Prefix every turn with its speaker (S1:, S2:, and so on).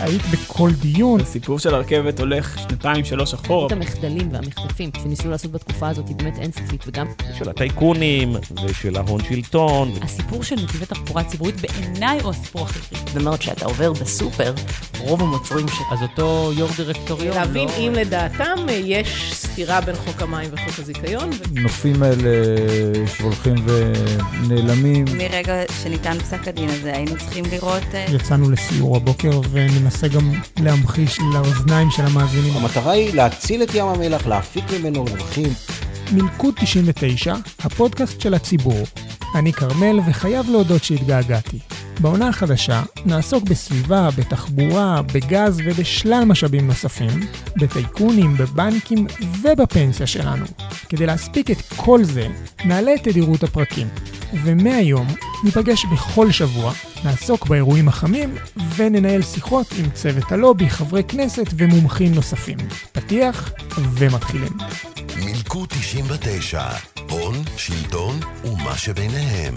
S1: היית בכל דיון.
S2: הסיפור של הרכבת הולך שנתיים, שלוש אחורה.
S3: את המחדלים והמחטפים שניסו לעשות בתקופה הזאת היא באמת אינסופית, וגם...
S4: של הטייקונים ושל ההון שלטון.
S5: הסיפור של נתיבי תחבורה ציבורית בעיניי הוא הסיפור הכי חשוב.
S6: זאת אומרת, כשאתה עובר בסופר, רוב המוצרים ש...
S7: אז אותו יו"ר דירקטוריון
S8: להבין
S9: לא,
S8: אם לדעתם יש סתירה בין חוק המים וחוק הזיכיון.
S10: הנושאים האלה שהולכים ונעלמים.
S9: מרגע שניתן פסק הדין הזה, היינו צריכים לראות... אה,
S1: יצאנו לסיור הבוקר וננסה גם להמחיש לאוזניים של המאזינים.
S11: המטרה היא להציל את ים המלח, להפיק ממנו רווחים.
S1: מלכוד 99, הפודקאסט של הציבור. אני כרמל, וחייב להודות שהתגעגעתי. בעונה החדשה נעסוק בסביבה, בתחבורה, בגז ובשלל משאבים נוספים, בטייקונים, בבנקים ובפנסיה שלנו. כדי להספיק את כל זה, נעלה את תדירות הפרקים. ומהיום ניפגש בכל שבוע, נעסוק באירועים החמים וננהל שיחות עם צוות הלובי, חברי כנסת ומומחים נוספים. פתיח ומתחילים.
S12: מילקו 99, הון, שלטון ומה שביניהם.